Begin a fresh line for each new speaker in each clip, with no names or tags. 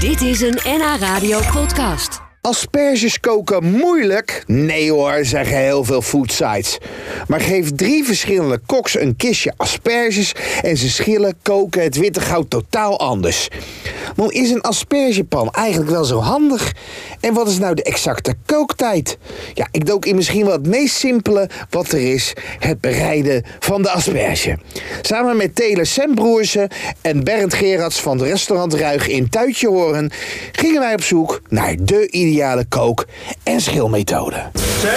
Dit is een NH Radio podcast.
Asperges koken moeilijk? Nee hoor, zeggen heel veel foodsites. Maar geef drie verschillende koks een kistje asperges en ze schillen koken het witte goud totaal anders. Maar is een aspergepan eigenlijk wel zo handig? En wat is nou de exacte kooktijd? Ja, ik dook in misschien wel het meest simpele wat er is: het bereiden van de asperge. Samen met Taylor Sembroersen en Berend Gerards van het restaurant Ruig in Tuitjehoorn gingen wij op zoek naar de ideale kook- en schilmethode.
Sam,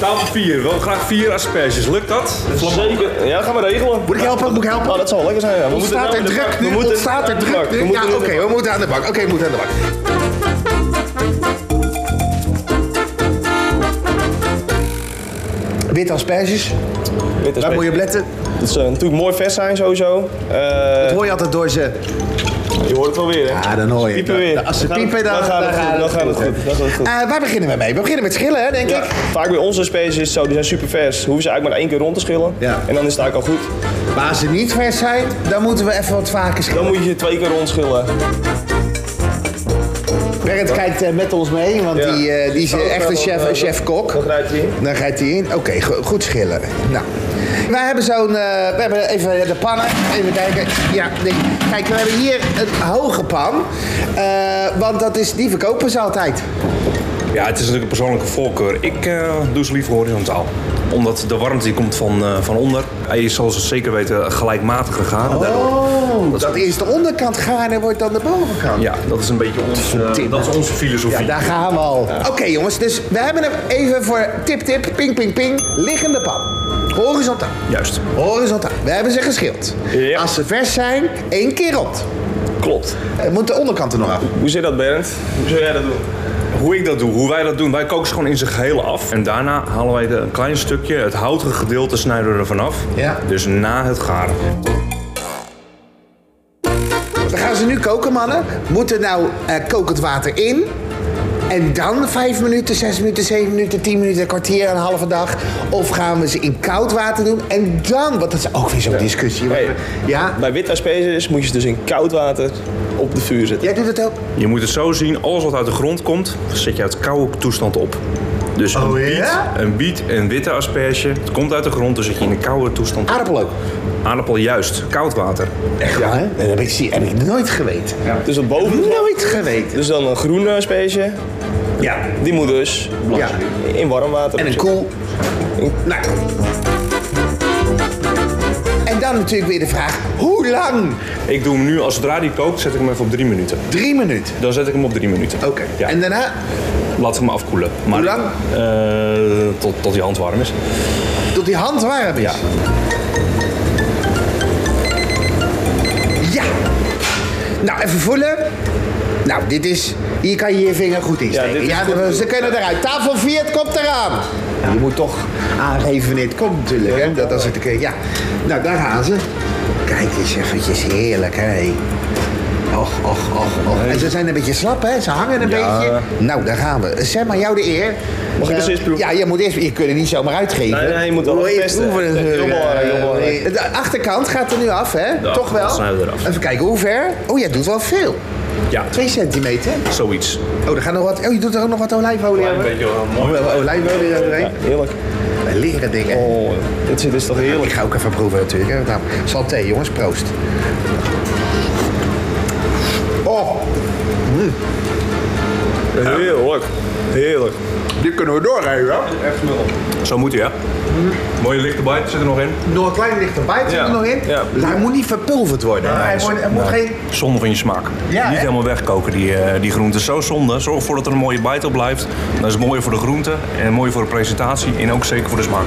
tafel 4. Wel graag vier asperges. Lukt dat?
Zeker. Ja, gaan we regelen.
Moet ik helpen? Moet ik helpen?
Ah, dat zal lekker zijn. Ja. We
Ontstaat er
moeten nou aan
druk
de bak. We
nu?
moeten
Ontstaat er
aan de
druk
bak. We
nu?
moeten
Ja,
aan
oké,
de
we moeten aan de bak. Oké, we moeten aan de bak. Witte asperges,
bak. Dit is
daar moet je
beter.
op letten.
Het zou eh, natuurlijk mooi vers zijn sowieso. Eh,
Dat hoor je altijd door ze.
je hoort het wel weer, hè?
Ah, dan hoor je.
Piepen weer.
Dan- Als ze
Dan gaat-
piepen, dan,
dan gaat het goed, dan gaat het goed, dan gaat het goed.
Eh, waar beginnen we mee? We beginnen met schillen, hè, denk
Ja,
ik.
vaak bij onze asperges is het zo, die zijn super vers. Hoeven ze eigenlijk maar één keer rond te schillen.
Ja.
En dan is het eigenlijk al goed.
Maar als ze niet vers zijn, dan moeten we even wat vaker schillen.
Dan moet je ze twee keer rondschillen.
Berend kijkt eh, met ons mee, want
Ja.
die, eh, die is
Zo,
eh, echt een
dan-
chef-
dan-
chef-kok.
Dan grijpt hij in.
Dan gaat hij in. Oké, go- goed schillen. Nou. Wij hebben zo'n. eh, we hebben even de pannen. Even kijken. Ja, nee. Kijk, we hebben hier een hoge pan. Eh, want dat is, die verkopen ze altijd.
Ja, het is natuurlijk een persoonlijke voorkeur. Ik eh, doe ze liever horizontaal. Omdat de warmte die komt van, eh, van onder. Hij is zoals we zeker weten gelijkmatig gegaan.
Oh, dat eerst de onderkant gaar en wordt dan de bovenkant.
Ja, dat is een beetje ons, eh,
Tim.
dat is onze
Ja,
filosofie.
daar gaan we al. Oké jongens, dus we hebben hem even voor tip tip, ping ping ping, liggende pan. Horizontaal.
Juist.
Horizontaal. We hebben ze geschild.
Ja.
Als ze vers zijn, één keer rond.
Klopt.
Eh, Moet de onderkant er nog af.
Hoe zit dat, Berend? Hoe zou jij dat doen?
Hoe ik dat doe, hoe wij dat doen, wij koken ze gewoon in zijn geheel af. En daarna halen wij de, een klein stukje, het houtige gedeelte, snijden we er vanaf.
Ja.
Dus na het garen.
We gaan ze nu koken, mannen. Moet er nou eh, kokend water in? En dan 5 minuten, 6 minuten, 7 minuten, 10 minuten, een kwartier, een halve dag. Of gaan we ze in koud water doen? En dan, want dat is ook weer zo'n discussie.
Hey.
Ja?
Bij witte asperges moet je ze dus in koud water op de vuur zetten.
Jij doet het ook?
Je moet het zo zien, alles wat uit de grond komt, zet je uit koude toestand op. Dus een,
Oh,
biet,
ja?
een biet, een witte asperge, het komt uit de grond, dus zet je in een koude toestand op.
Aardappel ook.
Aardappel juist, koud water.
Echt waar, hè? Dat heb ik, zie- heb ik nooit geweten.
Dus dan boven.
Nooit geweten.
Dus dan een groene asperge.
Ja.
Die moet dus
ja.
in warm water.
En een koel. Nou. En dan natuurlijk weer de vraag, hoe lang?
Ik doe hem nu, als zodra die kookt, zet ik hem even op drie minuten.
Drie minuten.
Dan zet ik hem op drie minuten.
Oké.
Ja.
En daarna,
Laat hem afkoelen. Maar,
Hoe lang? Oh,
Eh, tot, tot die hand warm is.
tot die hand warm is.
Ja.
Ja. Nou, even voelen. Nou, dit is... Hier kan je je vinger goed in steken.
dit is
Ja,
goed.
we- ze kunnen eruit. Tafel 4, het komt eraan. Nou, Je moet toch aangeven wanneer het komt natuurlijk, hè. Dat als het een keer... Ja. Nou, daar gaan ze. Kijk eens eventjes. Heerlijk, hè. Och, och, och, och. En ze zijn een beetje slap, hè. Ze hangen een
Ja.
beetje. Nou, daar gaan we. Zeg maar, jou de eer.
Mag ik eens
Eh,
eerst proeven?
Ja, je moet eerst... Je kunt het niet zomaar uitgeven.
Nee, nee, je moet wel
Hoe
even
heet-
testen.
hoe we het,
Heel
eh,
belangrijk, heel
eh,
belangrijk.
de achterkant gaat er nu af, hè?
De
Toch wel?
achterkant snijden we eraf.
Even kijken, hoe ver? Oh, jij doet wel veel.
Ja,
Twee centimeter.
zoiets.
Oh, er gaat nog wat. Oh, je doet er ook nog wat olijfolie aan.
beetje
Oh, wel olijfolie er doorheen.
Ja, heerlijk.
Wij leren dingen.
Oh, dit zit- dit is toch
Ik
heerlijk.
ga ook even proeven natuurlijk. Hè. Nou, saté, jongens, proost. Oh,
Heerlijk. Heerlijk.
die kunnen we doorrijden, hè?
Echt smul.
Zo moet hij, hè? Mooie lichte bite zit er nog in.
Nog een klein dichterbij zit
Ja,
er nog in.
ja.
Dus hij moet niet verpulverd worden. hij moet, hij moet geen...
Zonde van je smaak.
Ja,
Niet
hè?
helemaal wegkoken, die, eh, die groenten. Zo zonde. Zorg ervoor dat er een mooie bite op blijft. Dat is mooi voor de groente en mooi voor de presentatie en ook zeker voor de smaak.